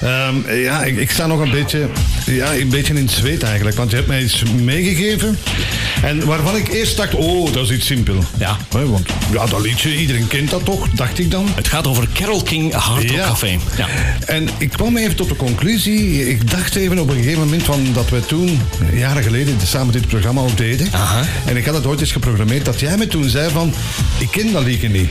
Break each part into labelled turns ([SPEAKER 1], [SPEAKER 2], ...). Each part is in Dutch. [SPEAKER 1] Eh, Ja, ik, ik sta nog een beetje, ja, een beetje in het zweet eigenlijk. Want je hebt mij iets meegegeven. En waarvan ik eerst dacht, oh, dat is iets simpel.
[SPEAKER 2] Ja.
[SPEAKER 1] Hè, want ja, dat liedje, iedereen kent dat toch, dacht ik dan.
[SPEAKER 2] Het gaat over Carol King Hard Rock
[SPEAKER 1] Ja.
[SPEAKER 2] Café. Ja.
[SPEAKER 1] En ik kwam even tot de conclusie. Ik dacht even op een gegeven moment van dat we toen, jaren geleden, samen dit programma ook deden.
[SPEAKER 2] Aha.
[SPEAKER 1] En ik had het ooit eens geprogrammeerd dat jij me toen zei van, ik ken dat liedje niet.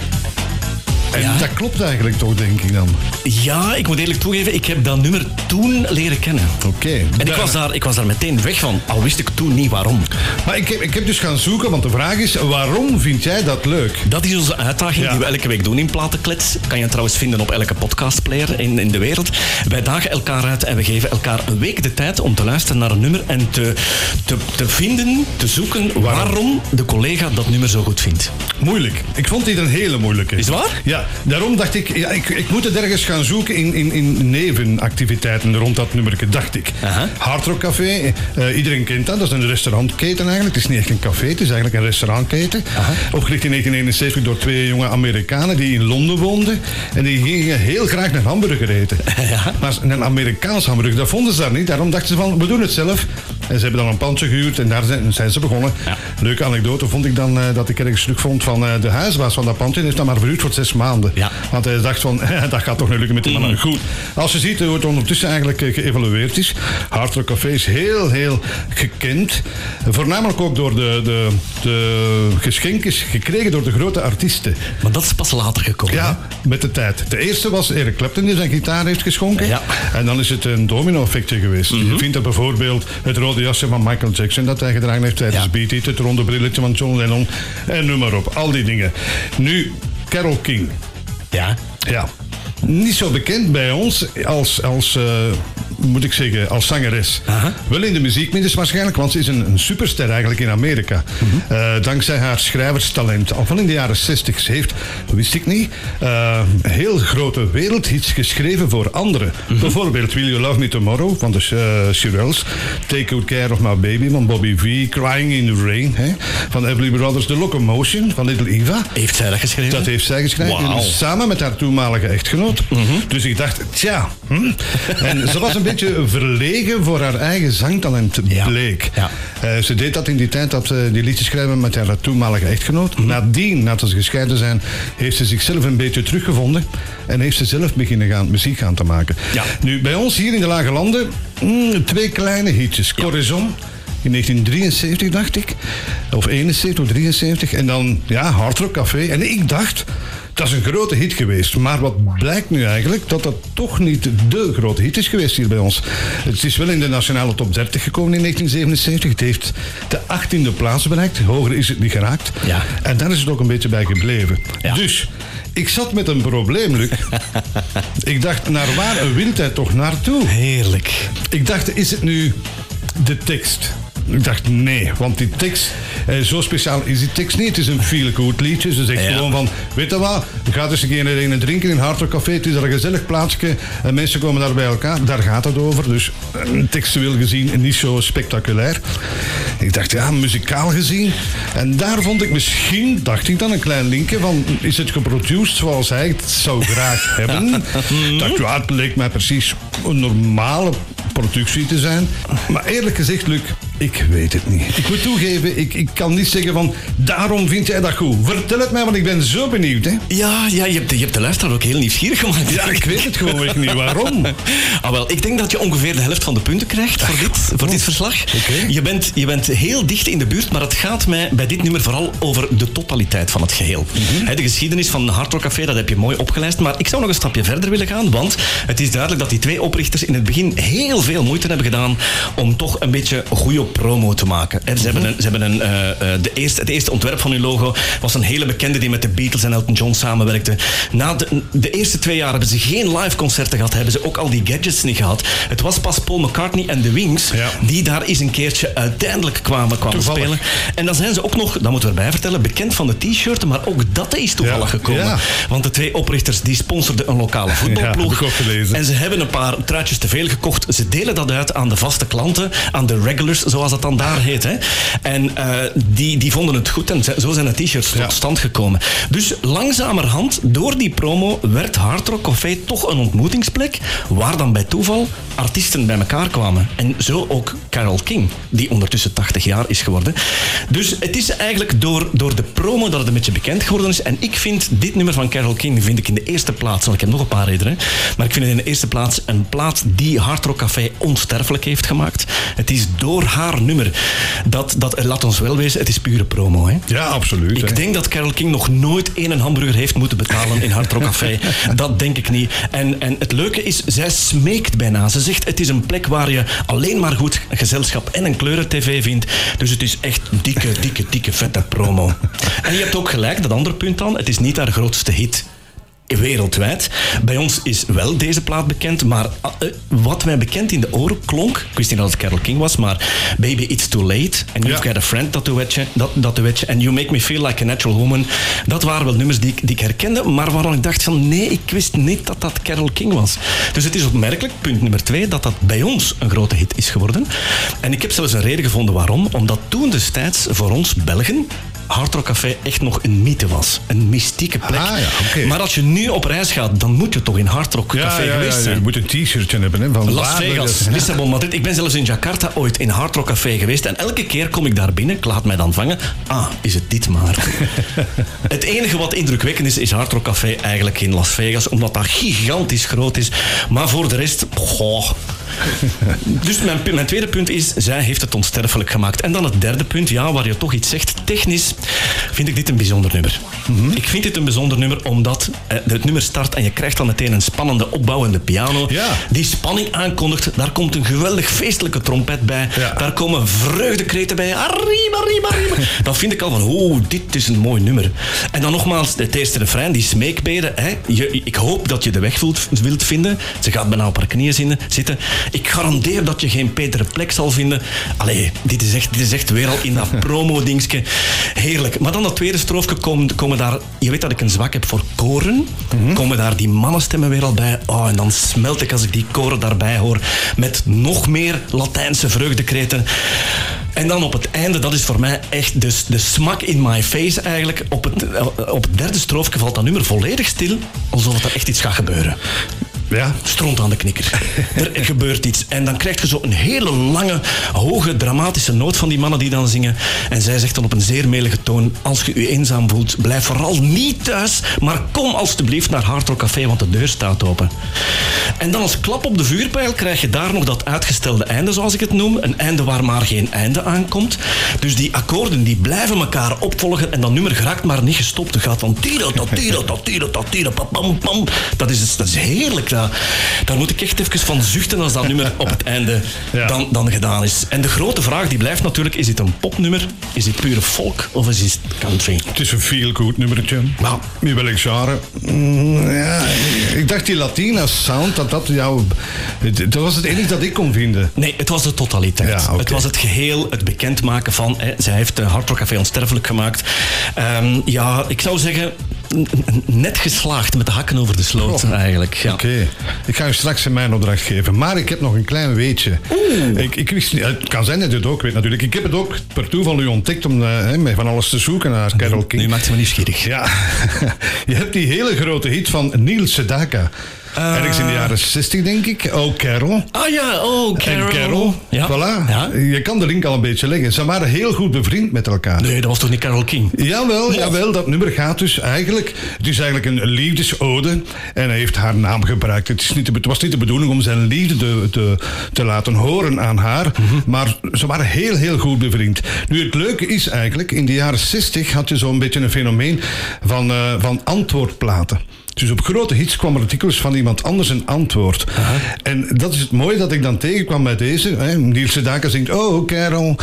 [SPEAKER 1] En
[SPEAKER 2] Ja.
[SPEAKER 1] dat klopt eigenlijk toch, denk ik dan.
[SPEAKER 2] ja, ik moet eerlijk toegeven, ik heb dat nummer toen leren kennen.
[SPEAKER 1] Oké.
[SPEAKER 2] En ik
[SPEAKER 1] Da-
[SPEAKER 2] was, daar, ik was daar meteen weg van, al wist ik toen niet waarom.
[SPEAKER 1] Maar ik heb, ik heb dus gaan zoeken, want de vraag is, waarom vind jij dat leuk?
[SPEAKER 2] Dat is onze uitdaging
[SPEAKER 1] Ja.
[SPEAKER 2] die we elke week doen in Platenklets. Kan je trouwens vinden op elke podcastplayer in, in de wereld. Wij dagen elkaar uit en we geven elkaar een week de tijd om te luisteren naar een nummer en te, te, te vinden, te zoeken waarom de collega dat nummer zo goed vindt.
[SPEAKER 1] Moeilijk. Ik vond dit een hele moeilijke.
[SPEAKER 2] Is het waar?
[SPEAKER 1] Ja, daarom dacht ik, ja, ik, ik moet het ergens gaan zoeken in, in, in nevenactiviteiten rond dat nummerke, dacht ik.
[SPEAKER 2] Aha.
[SPEAKER 1] Hard Rock Café, eh, iedereen kent dat, dat is een restaurantketen eigenlijk. Het is niet echt een café, het is eigenlijk een restaurantketen. Opgericht in 1971 door twee jonge Amerikanen die in Londen woonden. En die gingen heel graag naar hamburger eten.
[SPEAKER 2] Ja.
[SPEAKER 1] Maar een Amerikaans hamburger, dat vonden ze daar niet. Daarom dachten ze van, we doen het zelf. En ze hebben dan een pandje gehuurd en daar zijn, zijn ze begonnen.
[SPEAKER 2] Ja.
[SPEAKER 1] Leuke anekdote vond ik dan eh, dat ik ergens terug vond van eh, de huisbaas van dat pandje. Die heeft dat maar verhuurd voor zes maanden.
[SPEAKER 2] Ja. Mm.
[SPEAKER 1] Want hij dacht van, dat gaat toch niet lukken met die mannen. Goed, als je ziet hoe het ondertussen eigenlijk eh, geëvalueerd is. Hard Rock Café is heel, heel gekend. Voornamelijk ook door de, de, de geschenkjes gekregen door de grote artiesten.
[SPEAKER 2] Maar dat is pas later gekomen.
[SPEAKER 1] Ja, met de tijd. De eerste was Eric Clapton die zijn gitaar heeft geschonken.
[SPEAKER 2] Ja. Mhm.
[SPEAKER 1] En dan is het een domino-effectje geweest. Je vindt er bijvoorbeeld het rode jasje van Michael Jackson dat hij gedragen heeft tijdens
[SPEAKER 2] Ja.
[SPEAKER 1] Beat It, het ronde brilletje van John Lennon en noem maar op. Al die dingen. Nu, Carol King.
[SPEAKER 2] hè? Ja.
[SPEAKER 1] Ja. Niet zo bekend bij ons als, als eh, moet ik zeggen, als zangeres.
[SPEAKER 2] Aha.
[SPEAKER 1] Wel in de muziekmiddels waarschijnlijk, want ze is een, een superster eigenlijk in Amerika. Eh, dankzij haar schrijverstalent. Al van in de jaren 60 ze heeft, wist ik niet, eh, heel grote wereldhits geschreven voor anderen. Bijvoorbeeld Will You Love Me Tomorrow van de eh, Shirelles. Take Good Care of My Baby van Bobby V. Crying in the Rain hè, van Everly Brothers. The Locomotion van Little Eva.
[SPEAKER 2] Heeft zij dat geschreven?
[SPEAKER 1] Dat heeft zij geschreven.
[SPEAKER 2] Wauw. Mhm.
[SPEAKER 1] Samen met haar toenmalige echtgenoot. Dus ik dacht, tja. hm. En ze was een beetje verlegen voor haar eigen zangtalent,
[SPEAKER 2] Ja.
[SPEAKER 1] bleek.
[SPEAKER 2] Ja.
[SPEAKER 1] Eh, ze deed dat in die tijd dat ze die liedjes schrijven met haar toenmalige echtgenoot.
[SPEAKER 2] Mhm.
[SPEAKER 1] Nadien, nadat ze gescheiden zijn, heeft ze zichzelf een beetje teruggevonden. En heeft ze zelf beginnen gaan, muziek gaan te maken.
[SPEAKER 2] Ja.
[SPEAKER 1] Nu, bij ons hier in de Lage Landen, mm, twee kleine hitjes. Corazon. In 1973 dacht ik, of 71 of 73. En dan, ja, Hard Rock Café. En ik dacht, dat is een grote hit geweest. Maar wat blijkt nu eigenlijk? Dat dat toch niet de grote hit is geweest hier bij ons. Het is wel in de nationale top 30 gekomen in 1977. Het heeft de 18e plaats bereikt. Hoger is het niet geraakt.
[SPEAKER 2] Ja.
[SPEAKER 1] En daar is het ook een beetje bij gebleven.
[SPEAKER 2] Ja.
[SPEAKER 1] Dus, ik zat met een probleem, Luc. ik dacht, naar waar wil hij toch naartoe?
[SPEAKER 2] Heerlijk.
[SPEAKER 1] Ik dacht, is het nu de tekst? Ik dacht, nee, want die tekst, eh, zo speciaal is die tekst niet. Het is een feel-good liedje. Ze zegt
[SPEAKER 2] Ja.
[SPEAKER 1] gewoon van, weet je wat, ga eens een keer een drinken in Hard Rock Café. Het is daar een gezellig plaatsje en mensen komen daar bij elkaar. Daar gaat het over. Dus eh, textueel gezien niet zo spectaculair. Ik dacht, ja, muzikaal gezien. En daar vond ik misschien, dacht ik dan, een klein linkje van... Is het geproduced zoals hij het zou graag hebben? Ik dacht, ja, het leek mij precies een normale productie te zijn. Maar eerlijk gezegd, Luc, ik weet het niet. Ik moet toegeven, ik, ik kan niet zeggen van... Daarom vind jij dat goed. Vertel het mij, want ik ben zo benieuwd, hè.
[SPEAKER 2] Ja, ja je, hebt, de- je hebt de luisteraar ook heel nieuwsgierig gemaakt.
[SPEAKER 1] Ja, ik weet het gewoon echt niet. Waarom?
[SPEAKER 2] Ah, wel, ik denk dat je ongeveer de helft van de punten krijgt voor dit, voor dit verslag.
[SPEAKER 1] Oké.
[SPEAKER 2] Je, bent, je bent heel dicht in de buurt, maar het gaat mij bij dit nummer vooral over de totaliteit van het geheel.
[SPEAKER 1] Mhm.
[SPEAKER 2] Hè, de geschiedenis van Hard Rock Café, dat heb je mooi opgelijst. Maar ik zou nog een stapje verder willen gaan, want het is duidelijk dat die twee oprichters in het begin heel veel moeite hebben gedaan om toch een beetje goede promo te maken. Hè, Ze hebben,
[SPEAKER 1] Mhm.
[SPEAKER 2] een, ze hebben een, eh, eh, de eerste, het eerste ontwerp van hun logo was een hele bekende die met de Beatles en Elton John samenwerkte. Na de, de eerste twee jaar hebben ze geen live concerten gehad, hebben ze ook al die gadgets niet gehad. Het was pas Paul McCartney en The Wings
[SPEAKER 1] Ja.
[SPEAKER 2] die daar eens een keertje uiteindelijk kwamen, kwamen
[SPEAKER 1] Toevallig.
[SPEAKER 2] spelen. En dan zijn ze ook nog, dat moeten we erbij vertellen, bekend van de t-shirten, maar ook dat is toevallig
[SPEAKER 1] Ja.
[SPEAKER 2] gekomen.
[SPEAKER 1] Ja.
[SPEAKER 2] Want de twee oprichters die sponsorden een lokale
[SPEAKER 1] heb
[SPEAKER 2] voetbalploeg.
[SPEAKER 1] ik ook gelezen.
[SPEAKER 2] en ze hebben een paar truitjes te veel gekocht. Ze delen dat uit aan de vaste klanten, aan de regulars, zoals zoals dat dan daar heet. Hè. En eh, die, die vonden het goed en zo zijn de t-shirts tot stand gekomen. Dus langzamerhand, door die promo, werd Hard Rock Café toch een ontmoetingsplek waar dan bij toeval artiesten bij elkaar kwamen. En zo ook Carole King, die ondertussen 80 jaar is geworden. Dus het is eigenlijk door, door de promo dat het een beetje bekend geworden is. En ik vind dit nummer van Carole King vind ik in de eerste plaats, want ik heb nog een paar redenen, maar ik vind het in de eerste plaats een plaat die Hard Rock Café onsterfelijk heeft gemaakt. Het is door haar nummer dat, dat laat ons wel wezen, het is pure promo. Hè?
[SPEAKER 1] Ja, absoluut. hè.
[SPEAKER 2] Ik denk dat Carol King nog nooit één een hamburger heeft moeten betalen in Hard Rock Café. dat denk ik niet. En, en het leuke is, zij smeekt bijna. Ze zegt, het is een plek waar je alleen maar goed gezelschap en een kleuren-tv vindt. Dus het is echt dikke, dikke, dikke vette promo. En je hebt ook gelijk, dat andere punt dan. Het is niet haar grootste hit. Wereldwijd. Bij ons is wel deze plaat bekend, maar ah, eh, wat mij bekend in de oren klonk, ik wist niet dat het Carol King was, maar Baby It's Too Late en You've
[SPEAKER 1] Ja.
[SPEAKER 2] Got a Friend, dat duetje, dat, dat duetje en You Make Me Feel Like a Natural Woman, dat waren wel nummers die ik, die ik herkende, maar waarvan ik dacht van nee, ik wist niet dat dat Carol King was. Dus het is opmerkelijk, punt nummer twee, dat dat bij ons een grote hit is geworden. En ik heb zelfs een reden gevonden waarom, omdat toen destijds voor ons Belgen Hard Rock Café echt nog een mythe was. Een mystieke plek.
[SPEAKER 1] Ah, ja, oké.
[SPEAKER 2] Maar als je nu op reis gaat, dan moet je toch in Hard Rock
[SPEAKER 1] ja,
[SPEAKER 2] Café
[SPEAKER 1] ja, ja,
[SPEAKER 2] geweest zijn.
[SPEAKER 1] je moet een t-shirtje hebben. Hè, van
[SPEAKER 2] Las
[SPEAKER 1] waar we
[SPEAKER 2] Vegas,
[SPEAKER 1] dat-
[SPEAKER 2] Lissabon, Madrid. Ik ben zelfs in Jakarta ooit in Hard Rock Café geweest. En elke keer kom ik daar binnen, ik laat mij dan vangen. Ah, is het dit maar. het enige wat indrukwekkend is, is Hard Rock Café eigenlijk in Las Vegas. Omdat dat gigantisch groot is. Maar voor de rest, goh. Dus mijn, pu- mijn tweede punt is, zij heeft het onsterfelijk gemaakt. En dan het derde punt, ja, waar je toch iets zegt. Technisch vind ik dit een bijzonder nummer.
[SPEAKER 1] Mhm.
[SPEAKER 2] Ik vind dit een bijzonder nummer omdat eh, het nummer start en je krijgt dan meteen een spannende opbouwende piano
[SPEAKER 1] Ja.
[SPEAKER 2] die spanning aankondigt. Daar komt een geweldig feestelijke trompet bij.
[SPEAKER 1] Ja.
[SPEAKER 2] Daar komen vreugdekreten bij. Arriba, arriba, arriba. Dan vind ik al van, oeh, dit is een mooi nummer. En dan nogmaals, het eerste refrein, die smeekbeden. Hè. Je, ik hoop dat je de weg wilt, wilt vinden. Ze gaat bijna op haar knieën zinnen- zitten. Ik garandeer dat je geen betere plek zal vinden. Allee, dit is echt, dit is echt weer al in dat promo-dingske. Heerlijk. Maar dan dat tweede stroofje komen, komen daar... Je weet dat ik een zwak heb voor koren. Komen daar die mannenstemmen weer al bij. Oh, en dan smelt ik als ik die koren daarbij hoor. Met nog meer Latijnse vreugdekreten. En dan op het einde, dat is voor mij echt dus de, de smak in my face eigenlijk. Op het, eh, op het derde stroofje valt dat nummer volledig stil. Alsof er echt iets gaat gebeuren.
[SPEAKER 1] Ja.
[SPEAKER 2] Stront aan de knikker. Er gebeurt iets. En dan krijg je zo een hele lange, hoge, dramatische noot van die mannen die dan zingen. En zij zegt dan op een zeer melige toon: Als je je eenzaam voelt, blijf vooral niet thuis. Maar kom alstublieft naar Hard Rock Café, want de deur staat open. En dan als klap op de vuurpijl krijg je daar nog dat uitgestelde einde, zoals ik het noem. Een einde waar maar geen einde aankomt. Dus die akkoorden die blijven elkaar opvolgen. En dat nummer geraakt maar niet gestopt. Het gaat van tiro, tot tiro, tot tiro, tot tiro, pam, pam, pam. Dat is, dat is heerlijk. Daar, daar moet ik echt even van zuchten als dat nummer op het einde
[SPEAKER 1] Ja.
[SPEAKER 2] dan, dan gedaan is. En de grote vraag die blijft natuurlijk, is dit een popnummer? Is dit pure folk of is dit country?
[SPEAKER 1] Het is een feel-good nummertje.
[SPEAKER 2] Nou.
[SPEAKER 1] Met welk genre? Mm, ja, ik dacht die Latina sound, dat dat jou... Dat was het enige dat ik kon vinden.
[SPEAKER 2] Nee, het was de totaliteit.
[SPEAKER 1] Ja, oké.
[SPEAKER 2] Het was het geheel, het bekendmaken van. Hè, zij heeft de Hard Rock Café onsterfelijk gemaakt. Ehm, ja, ik zou zeggen, n- n- net geslaagd met de hakken over de sloot eigenlijk. Ja.
[SPEAKER 1] Oh. Oké, ik ga u straks in mijn opdracht geven. Maar ik heb nog een klein weetje. Ik, ik wist niet, het kan zijn dat u het ook weet natuurlijk. Ik heb het ook per toeval u ontdekt om eh, hè, mij van alles te zoeken naar Carol King.
[SPEAKER 2] Nu maakt ze me nieuwsgierig.
[SPEAKER 1] Ja, je hebt die hele grote hit van Neil Sedaka. Ergens
[SPEAKER 2] Eh.
[SPEAKER 1] in de jaren 60, denk ik. Oh, Carol.
[SPEAKER 2] Ah ja, oh, Carol.
[SPEAKER 1] En Carol.
[SPEAKER 2] Ja.
[SPEAKER 1] Voilà.
[SPEAKER 2] Ja.
[SPEAKER 1] Je kan de link al een beetje leggen. Ze waren heel goed bevriend met elkaar.
[SPEAKER 2] Nee, dat was toch niet Carol King?
[SPEAKER 1] Jawel, jawel, dat nummer gaat dus eigenlijk. Het is eigenlijk een liefdesode. En hij heeft haar naam gebruikt. Het, is niet de, be- het was niet de bedoeling om zijn liefde te, te, te laten horen aan haar. Maar ze waren heel, heel goed bevriend. Nu, het leuke is eigenlijk. In de jaren 60 had je zo'n beetje een fenomeen van, eh, van antwoordplaten. Dus op grote hits kwamen artikels van iemand anders een antwoord. En dat is het mooie dat ik dan tegenkwam bij deze. Hè. Niels Sedaka zingt, oh Carol...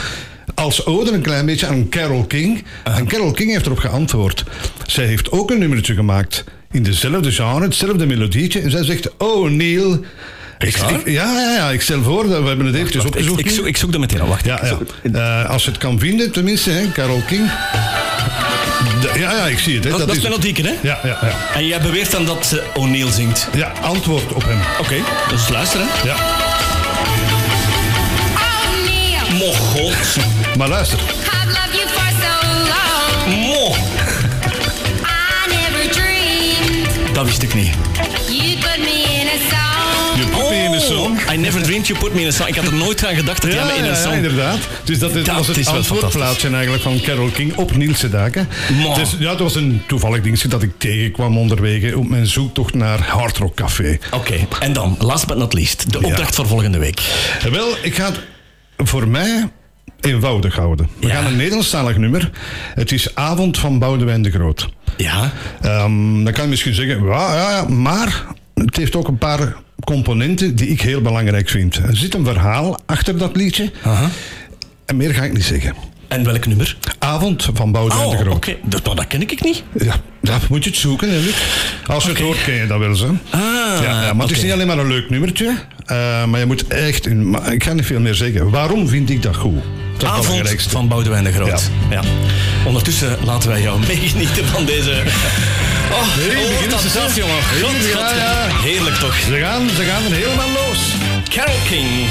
[SPEAKER 1] Als ode een klein beetje aan Carol King. En Carol King heeft erop geantwoord. Zij heeft ook een nummertje gemaakt. In dezelfde genre, hetzelfde melodietje. En zij zegt, oh Neil... Ik,
[SPEAKER 2] waar?
[SPEAKER 1] ik- ja, ja, ja, ik stel voor, dat we hebben het eventjes
[SPEAKER 2] Wacht, ik,
[SPEAKER 1] opgezocht.
[SPEAKER 2] ik, zoek, ik zoek dat meteen al. Wacht.
[SPEAKER 1] Ja, ja. Eh, als je het kan vinden, tenminste, hè, Carol King. Da- ja, ja, ik zie het. Hè,
[SPEAKER 2] Dat, dat,
[SPEAKER 1] dat
[SPEAKER 2] is
[SPEAKER 1] is het.
[SPEAKER 2] Melodieken, hè?
[SPEAKER 1] Ja, ja, ja.
[SPEAKER 2] En jij beweert dan dat ze O'Neill zingt.
[SPEAKER 1] Ja, antwoord op hem.
[SPEAKER 2] Oké, dus luisteren.
[SPEAKER 1] Ja.
[SPEAKER 3] Oh,
[SPEAKER 2] Mocht god.
[SPEAKER 1] Maar luister.
[SPEAKER 3] I've loved you for so long.
[SPEAKER 2] Mo,
[SPEAKER 3] I never dreamed
[SPEAKER 2] dat wist ik niet.
[SPEAKER 3] you'd put me in a song.
[SPEAKER 1] Je poepie in een song.
[SPEAKER 2] Oh. I never dreamed you put me in a song. Ik had er nooit aan gedacht dat jij me in een song...
[SPEAKER 1] inderdaad. Dus dat,
[SPEAKER 2] Dat
[SPEAKER 1] was het
[SPEAKER 2] is wel
[SPEAKER 1] antwoordplaatje eigenlijk van Carol King op Niels de Daken.
[SPEAKER 2] Maar.
[SPEAKER 1] Dus, ja, het was een toevallig dingetje dat ik tegenkwam onderweg op mijn zoektocht naar Hard Rock Café.
[SPEAKER 2] Oké, en dan, last but not least, de opdracht voor volgende week.
[SPEAKER 1] Eh, Wel, ik ga het voor mij eenvoudig houden. We
[SPEAKER 2] Ja.
[SPEAKER 1] gaan een Nederlandstalig nummer. Het is Avond van Boudewijn de Groot.
[SPEAKER 2] Ja,
[SPEAKER 1] Ehm, dan kan je misschien zeggen, ja, ja, ja, maar het heeft ook een paar componenten die ik heel belangrijk vind. Er zit een verhaal achter dat liedje. En meer ga ik niet zeggen.
[SPEAKER 2] en welk nummer?
[SPEAKER 1] Avond van Boudewijn
[SPEAKER 2] Oh,
[SPEAKER 1] de
[SPEAKER 2] oké,
[SPEAKER 1] Groot.
[SPEAKER 2] dat, nou, dat ken ik niet.
[SPEAKER 1] Ja, dat moet je het zoeken, hè, Luc. Als je
[SPEAKER 2] Oké.
[SPEAKER 1] het hoort, ken je dat wel zo.
[SPEAKER 2] Ah,
[SPEAKER 1] Ja, ja, maar het is niet alleen maar een leuk nummertje. eh, maar je moet echt... in- maar ik ga niet veel meer zeggen. Waarom vind ik dat goed? Dat is het
[SPEAKER 2] Avond
[SPEAKER 1] belangrijkste.
[SPEAKER 2] van Boudewijn de Groot. Ja. Ondertussen laten wij jou meegenieten van deze... Oh,
[SPEAKER 1] Hey,
[SPEAKER 2] hoort
[SPEAKER 1] begin
[SPEAKER 2] dat
[SPEAKER 1] eens, hè?
[SPEAKER 2] af, jongen.
[SPEAKER 1] Hey,
[SPEAKER 2] God,
[SPEAKER 1] ja,
[SPEAKER 2] God,
[SPEAKER 1] ja.
[SPEAKER 2] Heerlijk toch.
[SPEAKER 1] Ze gaan, ze gaan er helemaal los.
[SPEAKER 2] Carol King.